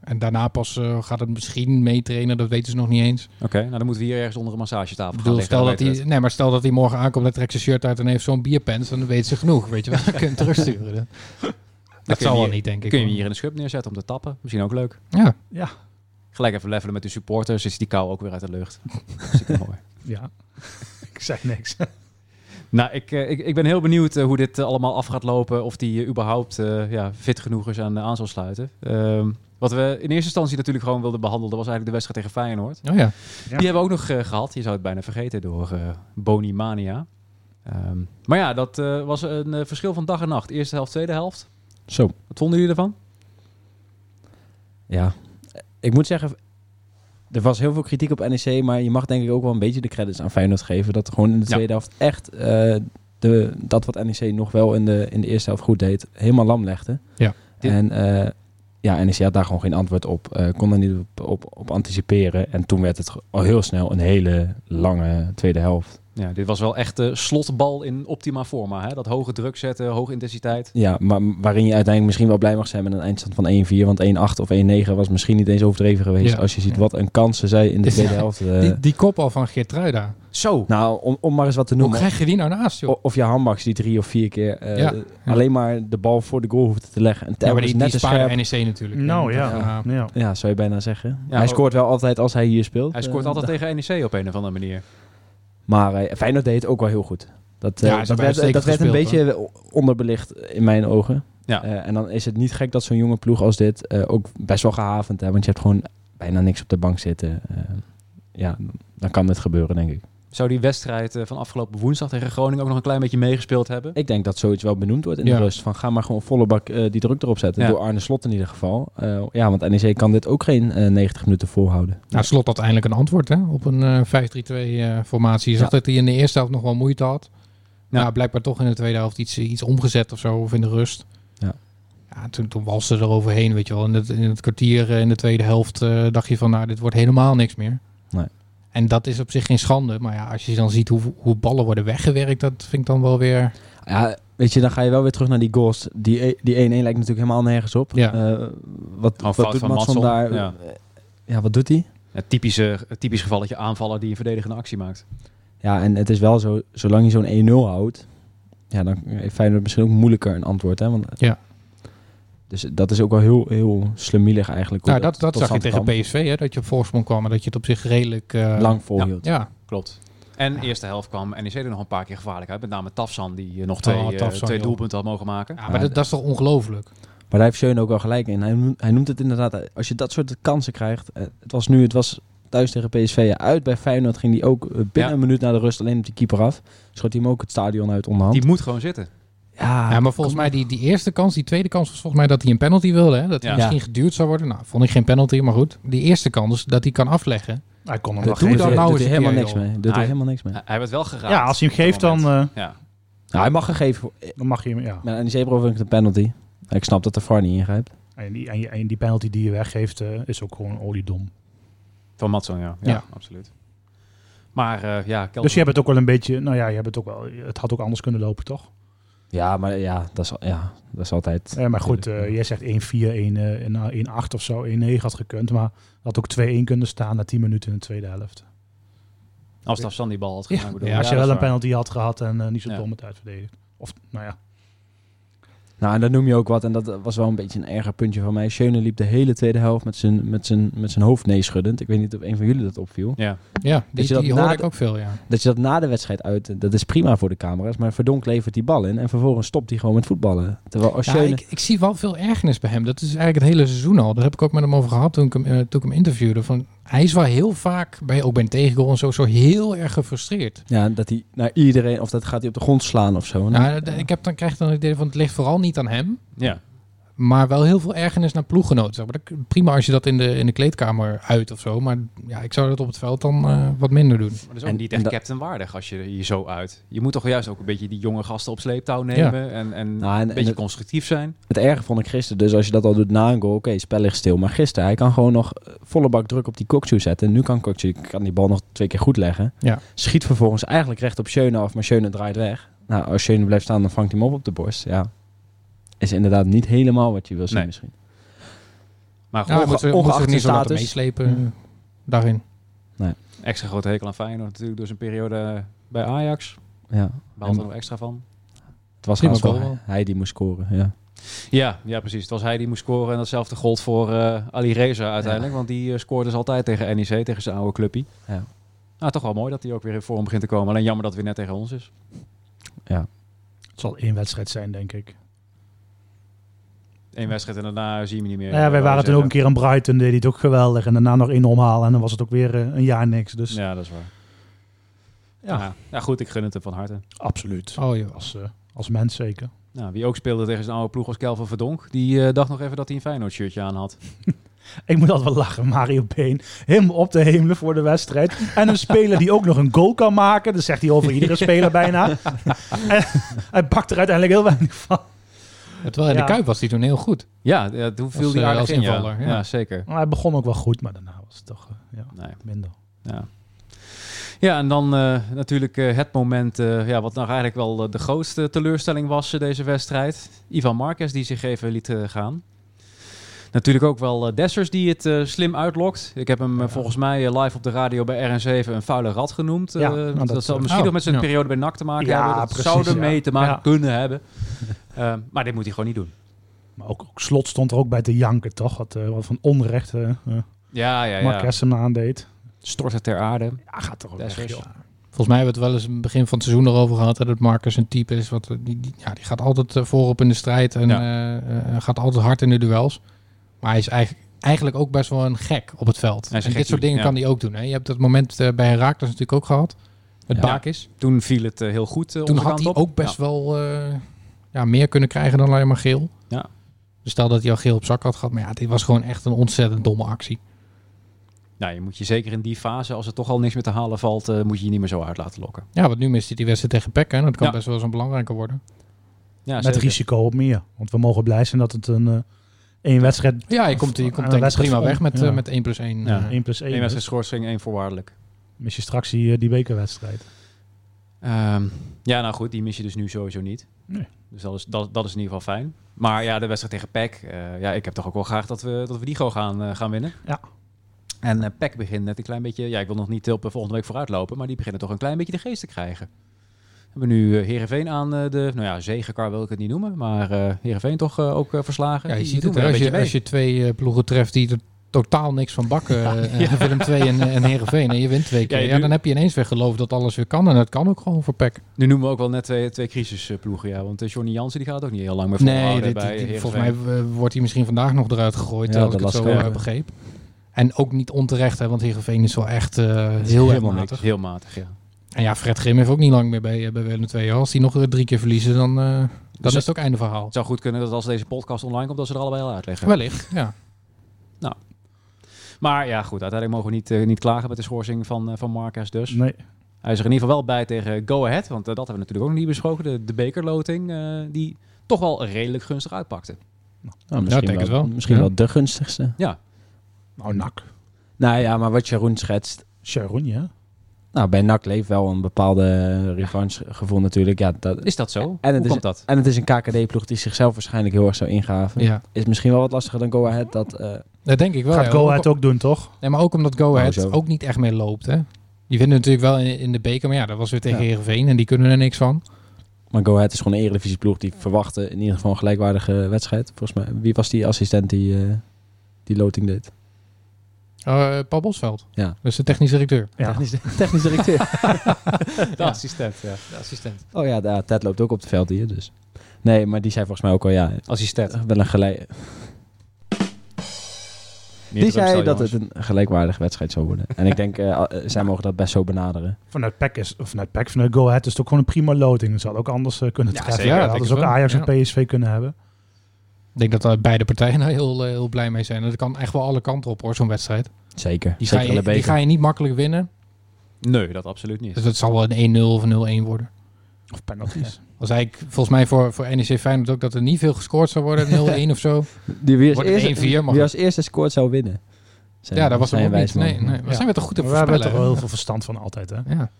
S3: en daarna pas eh, gaat het misschien meetrainen. Dat weten ze nog niet eens.
S2: eerst- Oké, nou dan moeten we hier ergens onder een massagetafel
S3: Ik
S2: gaan
S3: bedoel,
S2: liggen,
S3: stel
S2: dan
S3: dat hij,
S2: weten
S3: nee, maar stel dat hij morgen aankomt en trekt zijn shirt uit en heeft zo'n bierpens, dan weet ze genoeg.
S2: (laughs)
S3: Weet je wel, dan kun je hem terugsturen. Dat, dat
S2: kun je
S3: zal wel
S2: hier-
S3: niet, denk
S2: we het. Kun
S3: ik.
S2: je hem
S3: hoor.
S2: hier in de schub neerzetten om te tappen? Misschien ook leuk.
S3: Ja,
S2: Gelijk even levelen met de supporters, is die kou ook weer uit de lucht. Hartstikke mooi.
S5: Ja, (laughs) ik zei niks.
S2: Nou, ik, eh, ik, ik ben heel benieuwd eh, hoe dit eh, allemaal af gaat lopen. Of die eh, überhaupt eh, ja, fit genoeg is aan, aan zal sluiten. Ehm, wat we in eerste instantie natuurlijk gewoon wilden behandelen... was eigenlijk de wedstrijd tegen Feyenoord.
S3: oh ja.
S5: Ja.
S2: Die hebben we ook nog eh, gehad. Je zou het bijna vergeten door eh Boni Mania. Ehm, maar ja, dat eh, was een eh, verschil van dag en nacht. Eerste helft, tweede helft.
S4: Zo.
S2: Wat vonden jullie ervan?
S4: Ja, ik moet zeggen, er was heel veel kritiek op NEC, maar je mag denk ik ook wel een beetje de credits aan Feyenoord geven. Dat er gewoon in de
S2: Ja.
S4: tweede helft echt eh, de, dat wat NEC nog wel in de, in de eerste helft goed deed, helemaal lam legde.
S3: Ja.
S2: Dit-
S4: En eh, ja, NEC had daar gewoon geen antwoord op, eh, kon er niet op, op, op anticiperen. En toen werd het ge- al heel snel een hele lange tweede helft.
S2: Ja, dit was wel echt eh, slotbal in optima forma. Hè? Dat hoge druk zetten, hoge intensiteit.
S4: Ja, maar waarin je uiteindelijk misschien wel blij mag zijn met een eindstand van 1-4. Want 1-8 of 1-9 was misschien niet eens overdreven geweest.
S3: Ja.
S4: Als je ziet wat een kansen zij in de
S3: Ja.
S4: tweede helft. eh,
S3: die, die kop al van Geertruida.
S2: Zo.
S4: Nou, om, om maar Oh, eens wat te
S3: Hoe
S4: noemen.
S3: krijg je die nou naast, joh?
S4: O- Of je handbaks die drie of vier keer eh,
S3: Ja.
S4: alleen maar de bal voor de goal hoeft te leggen. En
S3: ja, maar
S4: telkens
S3: die,
S4: net
S3: die
S4: te
S3: spaarde
S4: scherp.
S3: NEC natuurlijk.
S5: Nou
S3: Dat-
S5: ja. ja.
S4: Ja, zou je bijna zeggen.
S2: Ja,
S4: hij
S3: oh.
S2: ook-
S4: scoort wel altijd als hij hier speelt.
S2: Hij scoort
S4: Eh,
S2: altijd tegen NEC op een of andere manier.
S4: Maar eh, Feyenoord deed het ook wel heel goed. Dat, eh,
S3: Ja, ze
S4: dat,
S3: hebben
S4: werd, dat
S3: uitstekend
S4: werd een
S3: gespeeld,
S4: beetje onderbelicht in mijn ogen.
S2: Ja.
S4: Eh, en dan is het niet gek dat zo'n jonge ploeg als dit eh, ook best wel gehavend... Hè, want je hebt gewoon bijna niks op de bank zitten. Eh, ja, dan kan dit gebeuren, denk ik.
S2: Zou die wedstrijd eh, van afgelopen woensdag tegen Groningen ook nog een klein beetje meegespeeld hebben?
S4: Ik denk dat zoiets wel benoemd wordt in
S3: Ja.
S4: de rust. Van ga maar gewoon volle bak eh, die druk erop zetten.
S2: Ja.
S4: Door Arne Slot in ieder geval. Eh, ja, want NEC kan dit ook geen eh, 90 minuten volhouden.
S3: Nou, slot had eindelijk een antwoord hè, op een eh, 5-3-2 eh, formatie. Je zag
S4: Ja.
S3: dat hij in de eerste helft nog wel moeite had.
S2: Ja.
S3: Ja. blijkbaar toch in de tweede helft iets, iets omgezet of zo, of in de rust.
S4: Ja.
S3: Ja, toen, toen walste er overheen, weet je wel. In het, in het kwartier eh, in de tweede helft eh, dacht je van, nou, dit wordt helemaal niks meer.
S4: Nee.
S3: En dat is op zich geen schande. Maar ja, als je dan ziet hoe, hoe ballen worden weggewerkt, dat vind ik dan wel weer...
S4: Ja, weet je, dan ga je wel weer terug naar die goals. Die e- die 1-1 lijkt natuurlijk helemaal nergens op.
S3: Ja.
S4: Eh, wat
S2: Gewoon
S4: wat
S2: fout
S4: doet
S2: van
S4: Matson
S2: Matson,
S4: daar?
S2: ja.
S4: Ja. wat doet hij?
S2: Het typische, het typisch gevalletje aanvaller die een verdedigende actie maakt.
S4: Ja, en het is wel zo, zolang je zo'n 1-0 houdt... Ja, dan heeft Feyenoord misschien ook moeilijker een antwoord. Hè? Want,
S3: Ja.
S4: Dus dat is ook wel heel, heel slemielig eigenlijk. hoe
S3: nou, dat, dat
S4: tot
S3: zag je
S4: stand
S3: tegen
S4: kwam.
S3: PSV, hè, dat je op voorsprong kwam en dat je het op zich redelijk... eh,
S4: Lang volhield.
S3: Ja,
S2: Klopt. En de eerste helft kwam NEC er nog een paar keer gevaarlijk uit. Met name Tafsan, die eh, nog twee,
S3: Oh,
S2: eh,
S3: Tafsan,
S2: twee
S3: joh.
S2: doelpunten had mogen maken.
S3: Ja, maar dat, dat is toch ongelooflijk?
S4: Maar daar heeft Schöne ook wel gelijk in. Hij, noemt- hij noemt het inderdaad, eh, als je dat soort kansen krijgt. eh, Het was nu, het was thuis tegen PSV uit. Bij Feyenoord ging hij ook eh, binnen
S2: Ja.
S4: een minuut na de rust alleen op die keeper af. Schoot hij hem ook het stadion uit onderhand.
S2: Die moet gewoon zitten.
S4: ja,
S3: ja, maar volgens mij die, die eerste kans, die tweede kans was volgens mij dat hij een penalty wilde. Hè? Dat hij
S2: Ja.
S3: misschien geduwd zou worden. Nou, vond ik geen penalty, maar goed. Die eerste kans, dus dat hij kan afleggen.
S5: Hij kon hem wel
S4: doet
S3: doe
S5: geven.
S4: hij-
S3: dan nou
S4: doet
S3: eens
S4: hij
S3: een
S4: helemaal
S3: keer,
S4: niks
S3: joh.
S4: mee. Doet hij
S2: Hij-
S4: helemaal niks mee.
S2: Hij hij werd wel geraakt.
S5: Ja, als hij hem
S2: op dat
S5: geeft, dan,
S2: moment.
S5: eh,
S2: Ja.
S4: Nou, hij mag gegeven. voor-
S5: dan mag je hem... Ja.
S4: Maar aan die ik een penalty. Ik snap dat de VAR niet ingrijpt.
S5: En, die, en, die- en die penalty die je weggeeft eh, is ook gewoon oliedom.
S2: Van Matson, ja. Ja,
S3: Ja.
S2: absoluut. Maar eh, ja, Kelvin-
S5: Dus je hebt het ook wel een beetje... Nou ja, je hebt het ook wel... Het had ook anders kunnen lopen, toch?
S4: Ja, maar ja, dat is, al- ja, dat is altijd...
S5: Eh, maar goed, eh, jij zegt 1-4, 1-8 eh, of zo, 1-9 had gekund. Maar had ook 2-1 kunnen staan na 10 minuten in de tweede helft.
S2: als Tafsan die bal had
S5: Ja,
S2: gedaan. bedoel,
S3: ja,
S5: als je
S2: dat is
S5: wel een
S2: waar.
S5: penalty had gehad en eh, niet zo
S2: Ja.
S5: dom het uitverdedigd. Of, nou ja.
S4: Nou, en dat noem je ook wat. En dat eh, was wel een beetje een erger puntje van mij. Schöne liep de hele tweede helft met zijn, met zijn, met zijn hoofd neeschuddend. Ik weet niet of een van jullie dat opviel.
S2: Ja.
S3: Ja, die,
S4: je dat
S3: die
S4: na
S3: hoorde
S4: de-
S3: ik ook veel, ja.
S4: Dat je dat na de wedstrijd uit... Dat is prima voor de camera's. Maar Verdonk levert die bal in. En vervolgens stopt hij gewoon met voetballen. Terwijl als
S3: Ja,
S4: Schöne...
S3: ik, ik zie wel veel ergernis bij hem. Dat is eigenlijk het hele seizoen al. Daar heb ik ook met hem over gehad toen ik hem, eh, toen ik hem interviewde. Van, hij is wel heel vaak, bij, ook bij een tegengoal en zo, zo heel erg gefrustreerd.
S4: Ja, dat hij naar iedereen... Of dat gaat hij op de grond slaan of zo.
S3: Nou, d- ik heb dan, krijg dan het idee van het ligt vooral niet aan hem.
S2: Ja.
S3: Maar wel heel veel ergernis naar ploeggenoten. Zeg maar. Dat- Prima als je dat in de, in de kleedkamer uit of zo. Maar ja, ik zou dat op het veld dan eh, wat minder doen.
S2: Maar dat is ook
S4: En-
S2: niet
S4: en
S2: echt
S4: dat-
S2: captain waardig als je je zo uit. Je moet toch juist ook een beetje die jonge gasten op sleeptouw nemen. En, en
S4: Nou, en-
S2: een
S4: en
S2: beetje
S4: het-
S2: constructief zijn.
S4: Het erge vond ik gisteren dus, als je dat al doet na een goal, oké, spel ligt stil. Maar gisteren, hij kan gewoon nog eh, volle bak druk op die Koksu zetten. En nu kan Koksu kan die bal nog twee keer goed leggen.
S3: Ja.
S4: Schiet vervolgens eigenlijk recht op Schöne af, maar Schöne draait weg. Nou, als Schöne blijft staan, dan vangt hij hem op op de borst. Ja, is inderdaad niet helemaal wat je wil zien
S2: Nee.
S4: misschien.
S2: Maar
S3: Ja,
S2: gewoon
S3: moet ze, moet
S4: ongeacht
S3: zich
S4: de
S3: niet zo laten
S4: status.
S3: meeslepen eh, daarin.
S2: extra grote hekel aan Feyenoord natuurlijk door zijn periode bij Ajax.
S4: Ja,
S2: Behaalt er
S4: En-
S2: nog extra van.
S4: het was
S3: Prima
S4: haast wel
S3: goal.
S4: hij die moest scoren, ja.
S2: Ja, ja, precies. Het was hij die moest scoren. En datzelfde gold voor eh, Ali Reza uiteindelijk. Want die eh, scoorde dus altijd tegen NEC, tegen zijn oude clubpie.
S4: Ja.
S2: Nou, toch wel mooi dat hij ook weer in vorm begint te komen. Alleen jammer dat het weer net tegen ons is.
S5: Het zal één wedstrijd zijn, denk ik.
S2: Eén wedstrijd en daarna zie je hem niet meer.
S5: Nou ja, wij
S2: Eh,
S5: waren toen
S2: zeggen.
S5: ook een keer aan Brighton, deed hij het ook geweldig. En daarna nog één omhalen en dan was het ook weer eh, een jaar niks. Dus ja,
S2: Ja, dat is waar. Ja. Ja, goed, ik gun het hem van harte.
S5: absoluut.
S3: Oh joh.
S5: Als, eh, als mens zeker.
S2: Nou, wie ook speelde tegen zijn oude ploeg was Kelvin Verdonk. Die eh, dacht nog even dat hij een Feyenoord shirtje aan had.
S5: Ik moet altijd wel lachen, Mario Been. Helemaal op de hemelen voor de wedstrijd. En een speler die ook nog een goal kan maken. Dat zegt hij over iedere speler bijna. En hij bakt er uiteindelijk heel weinig van.
S3: Terwijl in de
S5: Ja.
S3: Kuip was hij toen heel goed.
S2: Ja, eh, toen viel
S3: Als,
S2: hij
S3: eh,
S2: aardig
S3: als
S2: in, ja.
S3: invaller, ja.
S2: ja, zeker.
S5: Maar hij begon ook wel goed, maar daarna was het toch eh, ja,
S2: Nee.
S5: minder.
S2: Ja. Ja, en dan eh, natuurlijk eh, het moment, eh, ja, wat nou eigenlijk wel eh, de grootste teleurstelling was eh, deze wedstrijd. Ivan Marquez die zich even liet eh, gaan. Natuurlijk ook wel eh, Dessers die het eh, slim uitlokt. Ik heb hem eh, volgens mij eh, live op de radio bij RN7 een vuile rat genoemd.
S5: Ja,
S2: Eh,
S5: nou,
S2: dat,
S5: dat-
S2: zou misschien
S3: Oh,
S2: nog met zijn
S3: ja.
S2: periode bij NAC te maken
S5: Ja,
S2: hebben. Dat
S5: precies,
S2: zou er
S5: ja.
S2: mee te maken
S5: Ja.
S2: kunnen hebben. Eh, maar dit moet hij gewoon niet doen.
S5: Maar ook, ook Slot stond er ook bij te janken, toch? Wat, eh, wat van onrecht eh eh,
S2: Ja, ja, ja.
S5: Marquez hem aandeed.
S2: Stort het ter aarde.
S5: Ja, gaat toch ook
S2: Dessers.
S5: weg, joh.
S3: Volgens mij hebben we het wel eens in het begin van het seizoen erover gehad. Hè, dat Marcus een type is. Wat, eh, die, die- ja, die gaat altijd eh, voorop in de strijd. En
S2: Ja.
S3: eh, eh, gaat altijd hard in de duels. Maar hij is eigenlijk, eigenlijk ook best wel een gek op het veld.
S2: Hij is
S3: En
S2: een
S3: dit soort
S2: gekkie,
S3: dingen
S2: ja.
S3: kan hij ook doen. Hè. Je hebt dat moment eh, bij Herakles natuurlijk ook gehad. Het
S4: Ja.
S3: Baakis.
S2: Toen viel het eh, heel goed eh,
S3: Toen
S2: onze kant
S3: had hij
S2: op.
S3: ook
S2: Ja.
S3: best wel eh, ja, meer kunnen krijgen dan alleen maar geel.
S2: Ja.
S3: Dus stel dat hij al geel op zak had gehad. Maar ja, dit was gewoon echt een ontzettend domme actie.
S2: Nou, je moet je zeker in die fase, als er toch al niks meer te halen valt, eh, moet je je niet meer zo uit laten lokken.
S3: Ja, want nu mist hij die wedstrijd tegen Peck. Hè. Dat kan
S2: Ja.
S3: best wel eens een belangrijke worden.
S2: Ja,
S5: Met risico op meer. Want we mogen blij zijn dat het een eh één wedstrijd...
S3: Ja, je komt, je
S5: Aan
S3: komt
S5: de
S3: denk ik
S5: wedstrijd
S3: prima weg
S5: om.
S3: met,
S5: Ja.
S3: eh, met 1 plus 1.
S2: Ja.
S5: één plus één
S2: Eén
S5: is.
S2: wedstrijd schorsing, één voorwaardelijk.
S5: mis je straks die, eh, die bekerwedstrijd.
S2: Ehm, ja, nou goed, die mis je dus nu sowieso niet.
S5: Nee.
S2: Dus dat is, dat, dat is in ieder geval fijn. Maar ja, de wedstrijd tegen PEC. eh, ja, ik heb toch ook wel graag dat we, dat we die gewoon gaan, eh, gaan winnen.
S5: Ja.
S2: En eh PEC begint net een klein beetje... Ja, ik wil nog niet op eh, volgende week vooruitlopen, maar die beginnen toch een klein beetje de geest te krijgen. We hebben nu eh, Heerenveen aan eh, de... Nou ja, zegenkar wil ik het niet noemen, maar eh Heerenveen toch eh, ook eh, verslagen.
S3: Ja, je
S2: Die
S3: ziet
S2: doen
S3: het.
S2: weer
S3: hè.
S2: een
S3: Als je,
S2: beetje
S3: als je twee eh, ploegen treft die er totaal niks van (laughs) bakken. eh, eh, Willem 2 en, en Heerenveen. En je wint twee keer.
S2: Ja,
S3: Ja,
S2: je nu-
S3: dan heb je ineens weer geloof dat alles weer kan. En dat kan ook gewoon voor PEC.
S2: Nu noemen we ook wel net twee, twee crisisploegen, ja. Want eh, Johnny Jansen die gaat ook niet heel lang meer
S3: Nee,
S2: volhouden
S3: dit,
S2: bij
S3: dit- dit-
S2: Heerenveen.
S3: volgens mij eh, wordt hij misschien vandaag nog eruit gegooid.
S4: Ja,
S3: als ik
S4: dat
S3: het
S4: las
S3: zo
S4: ik ook,
S3: eh,
S4: ja.
S3: begreep. En ook niet onterecht, hè, want Heerenveen is wel echt eh, heel erg
S4: helemaal niks.
S3: matig.
S2: Heel matig, ja.
S3: En ja, Fred Grim heeft ook niet lang meer bij, eh, bij Willem II. Als die nog eh, drie keer verliezen, dan, eh, dan
S2: Dus-
S3: is het ook einde verhaal.
S2: Het zou goed kunnen dat als deze podcast online komt, dat ze er allebei al uitleggen.
S3: Wellicht, ja.
S2: Maar ja, goed, uiteindelijk mogen we niet, eh, niet klagen met de schorsing van, eh, van Marquez dus.
S5: Nee.
S2: Hij is er in ieder geval wel bij tegen Go Ahead, want eh, dat hebben we natuurlijk ook nog niet besproken. De, de bekerloting, eh, die toch wel redelijk gunstig uitpakte.
S4: Nou,
S3: ik denk het wel.
S4: Misschien
S3: Ja.
S4: wel de gunstigste.
S5: Nou, nak.
S4: Nou ja, maar wat Jeroen schetst.
S5: Sharon, ja.
S4: Nou, bij NAC leeft wel een bepaalde revanche-gevoel natuurlijk. Ja, dat,
S2: Is dat zo?
S4: het
S2: Hoe
S4: is-
S2: komt
S3: (laughs)
S2: dat?
S4: en het is een KKD-ploeg die zichzelf waarschijnlijk heel erg zou ingraven.
S3: ja.
S4: Is misschien wel wat lastiger dan Go Ahead. Dat, eh,
S3: Dat denk ik wel.
S5: Gaat
S3: ja.
S5: Go
S3: Ook-
S5: Ahead ook doen, toch?
S3: Nee, maar ook omdat Go Ahead
S4: Oh, zo.
S3: ook niet echt meer loopt, hè. Die winnen natuurlijk wel in, in de beker, maar ja, dat was weer tegen
S4: Ja.
S3: Heerenveen en die kunnen er niks van.
S4: maar Go Ahead is gewoon een eredivisieploeg die verwachten in ieder geval een gelijkwaardige wedstrijd. Volgens mij, wie was die assistent die, eh, die loting deed?
S3: Eh Paul Bosveld,
S4: Ja.
S3: dus de technisch directeur.
S5: Ja.
S4: (laughs) Technisch, technisch
S3: (laughs)
S4: directeur.
S2: De assistent, ja.
S3: De assistent.
S4: oh ja, daar, Ted loopt ook op het veld hier, dus. Nee, maar die zei volgens mij ook al, ja,
S2: Assistent.
S4: wel een gelijk... Die zei dat het een gelijkwaardige wedstrijd zou worden. En ik denk, eh, eh, zij mogen dat best zo benaderen.
S5: Vanuit PEC is, of vanuit PEC, vanuit Go Ahead is het ook gewoon een prima loting. Dat zou het ook anders eh, kunnen
S2: Ja,
S5: treffen.
S2: zeker,
S5: Ja,
S3: denk
S5: hadden ze
S3: ik
S5: ook
S3: wel.
S5: Ajax
S3: Ja.
S5: en PSV kunnen hebben.
S3: Ik denk dat daar beide partijen daar heel, eh, heel blij mee zijn. Dat kan echt wel alle kanten op, hoor, zo'n wedstrijd.
S4: Zeker.
S3: Die ga,
S4: Zeker in
S3: je,
S4: de
S3: die
S4: beker.
S3: ga je niet makkelijk winnen,
S2: Nee, dat absoluut niet.
S3: dus dat zal wel een 1-0 of een 0-1 worden.
S5: Of penalties.
S3: Was eigenlijk volgens mij voor, voor NEC Feyenoord ook dat er niet veel gescoord zou
S4: (laughs)
S3: worden, 0-1 of zo.
S4: Die wie als,
S3: Wordt het 1-4,
S4: eerste,
S3: maar
S4: wie
S3: goed.
S4: als eerste scoort zou winnen. Zijn-
S3: Ja, dat was
S4: zijn
S3: hem ook niet.
S4: wijs man.
S3: Nee, nee. Maar
S5: Ja.
S3: zijn we toch goed te
S5: we hebben er
S3: voorspellen?
S5: toch wel
S3: hè?
S5: heel veel verstand van altijd, hè?
S3: Ja,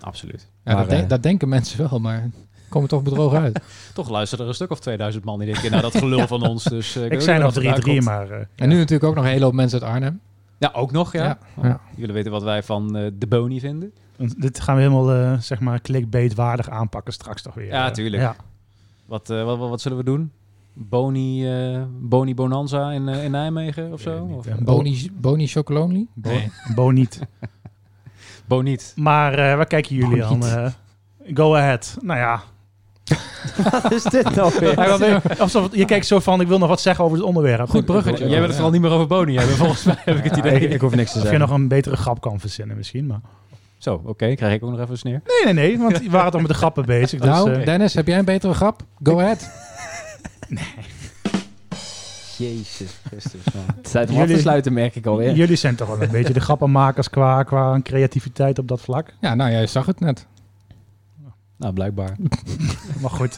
S2: Absoluut.
S3: ja
S4: Maar,
S3: dat, de-
S4: eh,
S3: dat denken mensen wel, maar komen toch bedrogen uit.
S2: Toch luisteren er een stuk of 2000 man die denken, nou dat
S5: (laughs)
S2: gelul van ons. Dus, eh,
S5: Ik
S2: weet
S5: zei
S2: niet
S5: nog
S2: waar dat vandaan
S5: 3-3,
S2: komt.
S5: maar... eh,
S3: En nu natuurlijk ook nog een hele hoop mensen uit Arnhem.
S2: Ja, ook nog, ja.
S3: Ja,
S2: Oh,
S3: ja.
S2: Jullie weten wat wij van eh, de Boni vinden.
S5: Want Dit gaan we helemaal, eh, zeg maar, clickbait-waardig aanpakken straks toch weer.
S2: Ja,
S5: eh.
S2: tuurlijk.
S5: Ja.
S2: Wat, eh, wat, wat, wat zullen we doen? Boni, eh, Boni Bonanza in, eh, in Nijmegen of
S5: Ik weet
S2: zo?
S5: het niet,
S2: Of,
S5: hè.
S3: Oh. Boni, Boni Chocolonely?
S5: Bo, Bo niet.
S2: Boniet.
S5: Maar eh, waar kijken jullie
S3: Bo
S5: aan?
S3: niet.
S5: eh? go ahead. Nou ja.
S4: (laughs) Wat is dit nou weer?
S5: Hij wil weer- alsof- je kijkt zo van, ik wil nog wat zeggen over het onderwerp.
S3: Goed bruggetje.
S2: Jij wil het vooral niet meer over Boni
S5: (laughs)
S2: hebben, volgens mij heb ik het idee.
S4: ik, ik hoef niks te
S5: Of je
S4: zeggen.
S5: nog een betere grap kan verzinnen misschien, maar...
S2: Zo, oké, krijg ik ook nog even een sneer.
S5: Nee, nee, nee, want die waren toch met de grappen bezig. Dus,
S3: Nou,
S5: eh,
S3: Dennis, heb jij een betere grap? Go ahead.
S2: Jezus Christus,
S4: Het tijd om af
S5: Jullie-
S4: te sluiten, merk ik alweer.
S5: jullie zijn toch wel een beetje de grappenmakers qua, qua creativiteit op dat vlak.
S3: Ja, nou, jij zag het net.
S2: Nou, blijkbaar.
S5: Maar goed,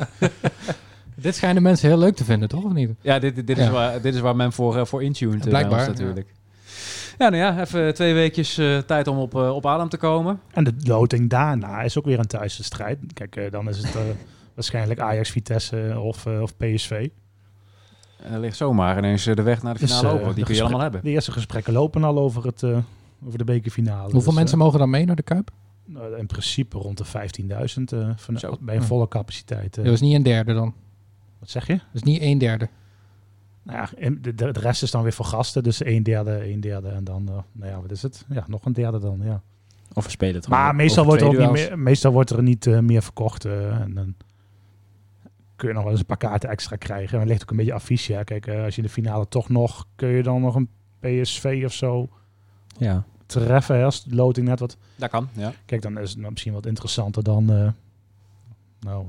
S3: Dit schijnen mensen heel leuk te vinden, toch? Of niet?
S2: Ja, dit, dit, dit, is,
S3: Ja.
S2: Waar, dit is waar men voor, eh, voor intuned. eh, bij
S3: Blijkbaar,
S2: ons natuurlijk. Ja. nou ja, even twee weekjes eh, tijd om op, eh, op adem te komen.
S5: en de loting daarna is ook weer een thuiswedstrijd. Kijk, eh, dan is het eh, waarschijnlijk Ajax-Vitesse of, eh, of PSV.
S2: En er ligt zomaar ineens eh, de weg naar de
S5: Dus,
S2: finale
S5: eh,
S2: open. want Die
S5: de
S2: kun je
S5: gesprek-
S2: allemaal hebben.
S5: De eerste gesprekken lopen al over, het, eh, over de bekerfinale.
S3: Hoeveel
S5: Dus,
S3: mensen
S5: eh,
S3: mogen dan mee naar de Kuip?
S5: nou, in principe rond de 15.000 eh, van-
S2: Zo.
S5: bij een
S3: Ja.
S5: volle capaciteit. eh.
S3: Dat is niet een derde dan.
S5: Wat zeg je?
S3: Dat is niet een derde.
S5: Nou ja, en de, de, de rest is dan weer voor gasten. Dus een derde, een derde en dan, eh, nou ja, wat is het? Ja, nog een derde dan, ja.
S4: Of we spelen het gewoon.
S5: Maar meestal
S4: Over
S5: wordt, er ook
S4: twee
S5: niet
S4: duels.
S5: meer, meestal wordt er niet eh, meer verkocht. eh, en dan kun je nog wel eens een paar kaarten extra krijgen. En dat ligt ook een beetje affiche. hè. Kijk, eh, als je in de finale toch nog... kun je dan nog een PSV of zo
S4: Ja.
S5: treffen. hè, Als de loting net wat
S2: Dat kan, ja.
S5: Kijk, dan is het nou misschien wat interessanter dan. eh, nou,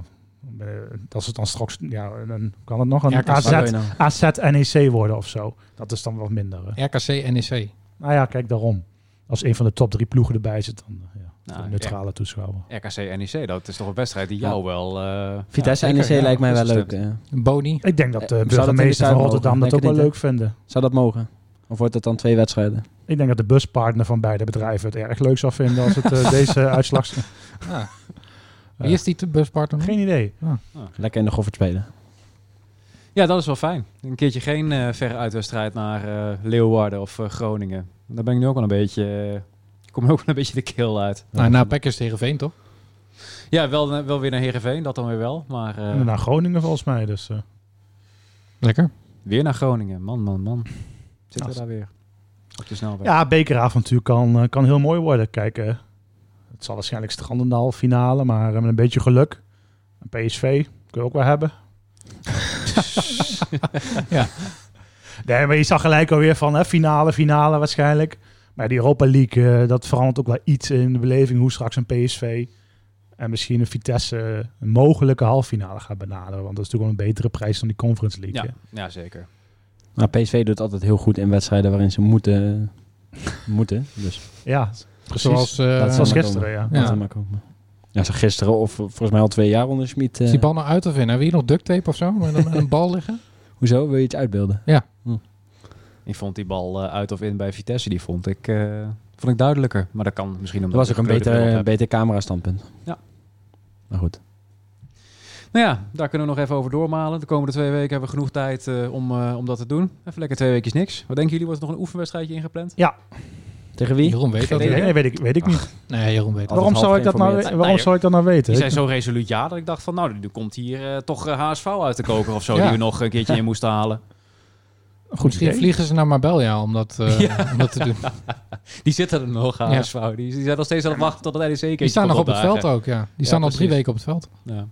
S5: eh, als het dan straks. Ja, dan kan het nog een
S3: Ja, kan
S5: AZ,
S4: Waar wil je nou?
S5: AZ NEC E worden of zo. Dat is dan wat minder. hè.
S3: RKC, NEC.
S5: Nou ja, kijk daarom. Als een van de top drie ploegen erbij zit, dan eh, ja,
S2: Nou,
S5: voor neutrale toeschouwer.
S2: RKC NEC, dat is toch een wedstrijd die jou wel... eh,
S4: Vitesse
S3: Ja,
S4: en NEC
S3: zeker, ja.
S4: lijkt mij wel
S2: Dat is
S4: leuk. eh.
S3: Boni.
S5: Ik denk dat
S4: Eh,
S5: de
S4: zou dat in de
S5: burgemeester
S4: tuin
S5: van
S4: mogen?
S5: Rotterdam dat
S4: Denk het
S5: ook wel
S4: niet,
S5: leuk vinden.
S4: Zou dat mogen? Of wordt het dan twee wedstrijden?
S5: Ik denk dat de buspartner van beide bedrijven het erg leuk zou vinden als
S4: (laughs)
S5: het eh, deze uitslag.
S3: Ah. Wie is die te- buspartner?
S5: Geen idee.
S4: Lekker in de goffert spelen.
S2: Ja, dat is wel fijn. Een keertje geen eh, verre uitwedstrijd naar eh, Leeuwarden of eh, Groningen. Daar ben ik nu ook wel een beetje... eh, kom ook wel een beetje de keel uit.
S3: Nou, na Packers tegen Veen, toch?
S2: Ja, wel, eh, wel weer naar Heerenveen, dat dan weer wel. Maar eh,
S4: Nou.
S5: En naar Groningen volgens mij. Dus, eh,
S3: Lekker.
S2: weer naar Groningen. Man, man, man. Zitten
S5: Als-
S2: we daar weer. op de snelweg.
S5: Ja, bekeravontuur kan, eh, kan heel mooi worden. Kijk, eh, het zal waarschijnlijk Strandendaal finale, maar eh, met een beetje geluk. Een PSV kun je ook wel hebben.
S3: (laughs) Ja.
S5: Nee, maar je zag gelijk alweer van hè, finale, finale waarschijnlijk. Maar die Europa League, eh, dat verandert ook wel iets in de beleving hoe straks een PSV en misschien een Vitesse een mogelijke halffinale gaat benaderen. Want dat is natuurlijk wel een betere prijs dan die Conference League.
S2: ja,
S5: hè.
S2: ja, zeker.
S4: Maar PSV doet altijd heel goed in wedstrijden waarin ze moeten. moeten. Dus
S5: Ja, precies.
S3: Zoals eh,
S4: Dat
S5: Zoals
S4: Ja, maar
S5: gisteren, ja.
S4: ja.
S3: Ja.
S4: maar komen. Ja, ze gisteren of volgens mij al twee jaar onder Schmid. eh,
S3: is die bal nou uit te vinden? Hebben we hier nog duct tape of zo? Met een, met een bal liggen?
S4: hoezo? Wil je iets uitbeelden?
S2: Ik vond die bal eh, uit of in bij Vitesse, die vond ik, eh, vond ik duidelijker. Maar dat kan misschien
S4: Dat
S2: omdat
S4: was ook
S2: ik
S4: een
S2: kleurenbril op
S4: beter,
S2: heb.
S4: beter camera-standpunt.
S2: Ja.
S4: Maar goed.
S2: Nou ja, daar kunnen we nog even over doormalen. De komende twee weken hebben we genoeg tijd eh, om, eh, om dat te doen. Even lekker twee weekjes niks. Wat denken jullie? Wordt er nog een oefenwedstrijdje ingepland?
S4: Tegen wie?
S3: Jeroen weet dat
S2: idee.
S3: niet.
S5: Nee, weet ik, weet ik niet.
S3: Nee, Jeroen weet dat
S5: Waarom
S4: half
S5: zou, ik dat nou,
S4: geïnformeerd.
S5: waarom
S2: Nee,
S5: zou ik dat nou weten?
S2: Die zei zo resoluut ja dat ik dacht van nou, nu komt hier eh, toch eh, HSV uit de koker of zo.
S3: Ja.
S2: Die we nog een keertje in moesten halen.
S5: Goed
S3: Misschien
S5: idee.
S3: vliegen ze naar Marbella om dat, eh, om dat te doen.
S2: Die zitten er nog, HSV. Die, die zijn nog steeds aan het wachten tot het NEC keertje
S3: Die staan nog
S2: komt
S3: op het veld
S2: opdagen.
S3: ook, ja. Die staan al drie
S2: precies.
S3: weken op het veld.
S2: Ja.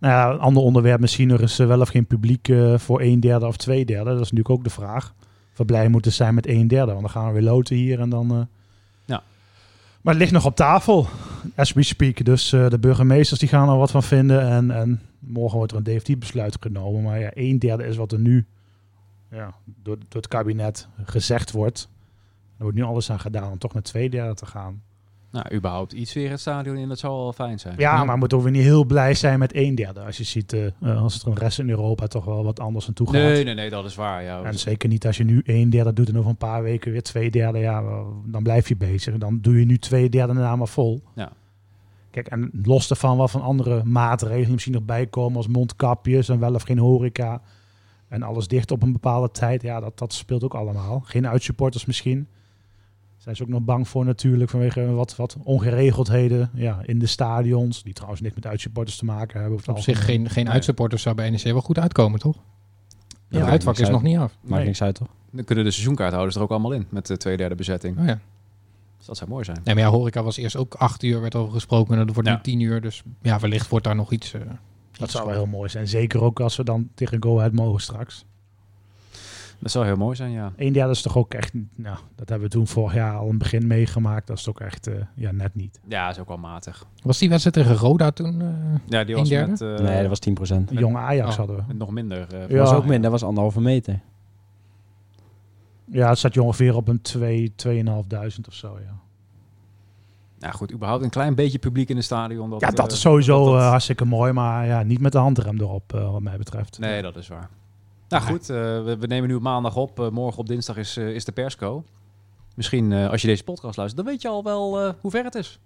S5: Nou ja, een ander onderwerp misschien nog is eh, wel of geen publiek eh, voor een derde of twee derde. Dat is natuurlijk ook de vraag. Of we blij moeten zijn met een derde. Want dan gaan we weer loten hier en dan... eh.
S2: Ja.
S5: Maar het ligt nog op tafel, as we speak. Dus eh, de burgemeesters die gaan er wat van vinden. En, en morgen wordt er een definitief besluit genomen. Maar ja, een derde is wat er nu ja, door, door het kabinet gezegd wordt. Er wordt nu alles aan gedaan om toch naar twee derde te gaan.
S2: Nou, überhaupt iets weer het stadion in, dat zou al fijn zijn.
S5: Ja, maar moet ook weer niet heel blij zijn met een derde. Als je ziet, eh, eh, als het een rest in Europa toch wel wat anders aan toe gaat.
S2: Nee, nee, nee, dat is waar.
S3: Oh.
S2: Ja. dus-
S5: En zeker niet als je nu een derde doet en over een paar weken weer twee derde. Ja, wel, dan blijf je bezig. Dan doe je nu twee derde daarna maar vol.
S2: Ja.
S5: Kijk, en los daarvan wel van andere maatregelen misschien nog bijkomen. Als mondkapjes en wel of geen horeca. En alles dicht op een bepaalde tijd. Ja, dat, dat speelt ook allemaal. Geen uitsupporters misschien. Zijn ze ook nog bang voor natuurlijk vanwege wat, wat ongeregeldheden ja, in de stadions. Die trouwens niks met uitsupporters te maken hebben. over het
S3: Op zich
S5: algemeen.
S3: geen, geen
S2: Nee.
S3: uitsupporters zou bij NEC wel goed uitkomen, toch?
S4: Ja,
S3: het uitvak is nog niet af.
S4: Maakt
S5: Nee.
S4: niks uit, toch?
S2: Dan kunnen de seizoenkaarthouders er ook allemaal in met de tweederde bezetting.
S3: Oh, ja.
S2: Dus dat zou mooi zijn.
S3: Nee, maar ja, horeca was eerst ook acht uur, werd over gesproken. En dat wordt
S2: Ja.
S3: nu tien uur. Dus ja, wellicht wordt daar nog iets... eh,
S5: Dat
S3: iets
S5: zou wel heel mooi zijn. Zeker ook als we dan tegen Go Ahead mogen straks.
S2: Dat zou heel mooi zijn, ja.
S5: Een derde is toch ook echt, nou, dat hebben we toen vorig jaar al in het begin meegemaakt. Dat is toch echt, eh, ja, net niet.
S2: Ja, is ook wel matig.
S3: Was die wedstrijd tegen Roda toen? eh,
S2: Ja, die
S3: Een
S2: was
S3: derde?
S2: met, eh,
S4: nee, dat was 10%. Dat
S5: Jong Ajax
S3: oh.
S5: hadden we.
S2: met nog minder. eh,
S5: Ja.
S4: was ook minder, dat was anderhalve meter.
S5: Ja, het zat je ongeveer op een 2, 2.500 of zo, ja.
S2: Nou goed, überhaupt een klein beetje publiek in het stadion. Dat,
S5: Ja, dat
S2: eh,
S5: is sowieso
S2: dat- dat-
S5: eh, hartstikke mooi, maar ja, niet met de handrem erop, eh, wat mij betreft.
S2: Nee, dat is waar. Nou goed, eh, we, we nemen nu op maandag op. Eh, morgen op dinsdag is, eh, is de persco. Misschien eh, als je deze podcast luistert, dan weet je al wel eh, hoe ver het is.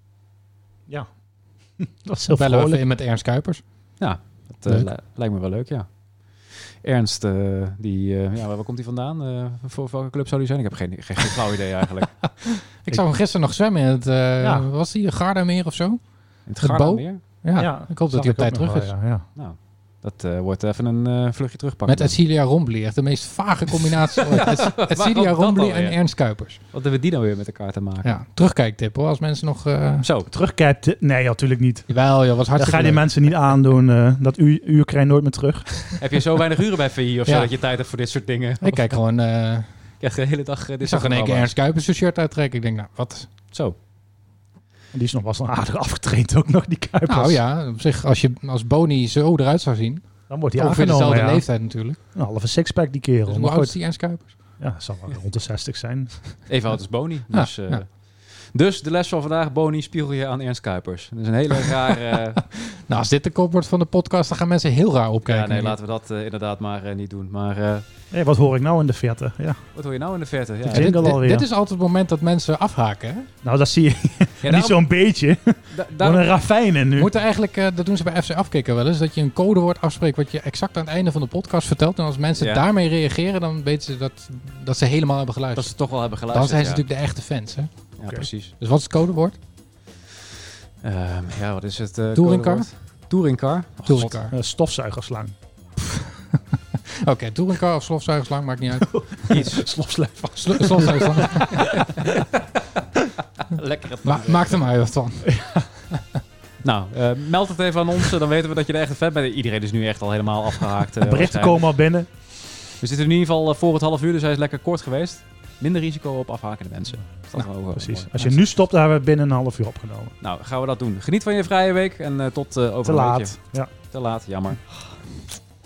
S5: Ja. (laughs) dat is heel
S3: bellen we even
S5: vrolijk.
S3: in met Ernst Kuipers.
S2: Dat eh,
S3: Leuk.
S2: li- lijkt me wel leuk, ja. Ernst, eh, die, eh, ja, waar waar komt hij vandaan? Eh, voor welke club zou die zijn? Ik heb geen, geen, geen flauw idee eigenlijk.
S3: Ik zag hem gisteren nog zwemmen in het... eh,
S5: Ja.
S3: Was die Gardameer of zo?
S2: In het
S3: Het
S2: Garda
S3: Bo?
S2: meer?
S3: Ja,
S5: Ja,
S3: ik hoop
S5: zag
S3: dat hij op
S5: ook
S3: tijd
S5: nog
S3: terug
S5: wel,
S3: is.
S5: Oh, Ja, ja.
S2: Nou, dat eh, wordt even een eh, vluchtje terugpakken.
S3: Met Edcilia Rombly. Echt de meest vage combinatie ooit. Ed-
S2: Waarom
S3: Edcilia
S2: dat
S3: Rombly
S2: alweer?
S3: en Ernst Kuipers.
S2: Wat hebben we die nou weer met elkaar te maken?
S3: Ja, terugkijktip hoor. Als mensen nog... eh
S2: Zo,
S5: Terugkijkt, nee, natuurlijk niet.
S3: Jawel, joh, was
S5: Dat ga
S3: hartstikke
S5: je die
S3: leuk.
S5: mensen niet aandoen. eh, dat uur, uur krijg je nooit meer terug.
S2: heb je zo weinig uren bij VI of zo
S3: Ja.
S2: dat je tijd hebt voor dit soort dingen?
S3: Ik kijk gewoon... eh,
S2: Ik krijg de hele dag eh, dit
S3: ik zag
S2: soort
S3: in één keer
S2: programma's.
S3: Ernst Kuipers zijn shirt uittrekken. Ik denk, nou, wat...
S2: Zo,
S5: En die is nog wel eens aardig afgetraind ook nog, die Kuipers.
S3: Nou ja, op zich, als, je, als Boni zo eruit zou zien...
S5: Dan wordt hij
S3: ongeveer
S5: aangenomen,
S3: dezelfde
S5: ja.
S3: leeftijd natuurlijk.
S5: Een halve sixpack die kerel.
S3: Dus hoe
S5: maar
S3: oud
S5: goed.
S3: is die Ernst Kuipers?
S5: Ja, het zal wel rond de 60 zijn.
S2: even oud als Boni.
S3: Ja,
S2: Dus, eh,
S3: ja.
S2: dus de les van vandaag, Boni, spiegel je aan Ernst Kuipers. Dat is een hele raar...
S3: (laughs)
S2: eh,
S3: Nou, als dit de kop wordt van de podcast... dan gaan mensen heel raar opkijken.
S2: ja, nee, laten we dat eh, inderdaad maar eh, niet doen. Maar eh,
S5: Hé, wat hoor ik nou in de verte? Ja.
S2: wat hoor je nou in de verte? Ja,
S5: Ik
S3: Ja,
S5: jingle
S3: dit, dit-
S5: alweer.
S3: dit is altijd het moment dat mensen afhaken. Hè?
S5: Nou, dat zie je
S2: Ja,
S5: niet
S2: daarom-
S5: zo'n beetje.
S2: da-
S5: Wat
S2: (laughs) daarom-
S5: een ravijn in nu.
S3: Moet er eigenlijk, eh, dat doen ze bij FC Afkikken wel eens, dat je een codewoord afspreekt wat je exact aan het einde van de podcast vertelt. En als mensen
S2: Ja.
S3: daarmee reageren, dan weten ze dat, dat ze helemaal hebben
S2: dat
S3: geluisterd.
S2: ze het toch wel hebben
S3: dan
S2: geluisterd.
S3: zijn ze
S2: ja.
S3: natuurlijk de echte fans. Hè?
S2: Ja, precies.
S3: Dus wat is het codewoord?
S2: Ehm, ja, wat is het? eh,
S3: Touringcar? (laughs)
S2: codewoord? Touringcar. Oh, (laughs)
S3: Tulsikar.
S5: Eh, stofzuigerslang.
S3: Oké, toerenkar of slofzuigerslang, maakt niet uit.
S2: Iets.
S5: Slofslijf.
S3: Slo- slofzuigerslang.
S2: Lekker.
S3: Ma maakt er maar wat van.
S2: Nou, eh, meld het even aan ons. eh, Dan weten we dat je er echt een fan bent. Iedereen is nu echt al helemaal afgehaakt. eh,
S5: Berichten
S2: waarschijnlijk.
S5: komen al binnen.
S2: We zitten in ieder geval eh, voor het half uur, dus hij is lekker kort geweest. Minder risico op afhakende mensen. Dat is
S5: Nou,
S2: wel, eh,
S5: Precies.
S2: mooi.
S5: Als je nu stopt, dan hebben we binnen een half uur opgenomen.
S2: Nou, gaan we dat doen. Geniet van je vrije week en eh, tot eh, over
S5: Te
S2: een
S5: laat.
S2: weekje.
S5: Ja.
S2: Te laat, jammer.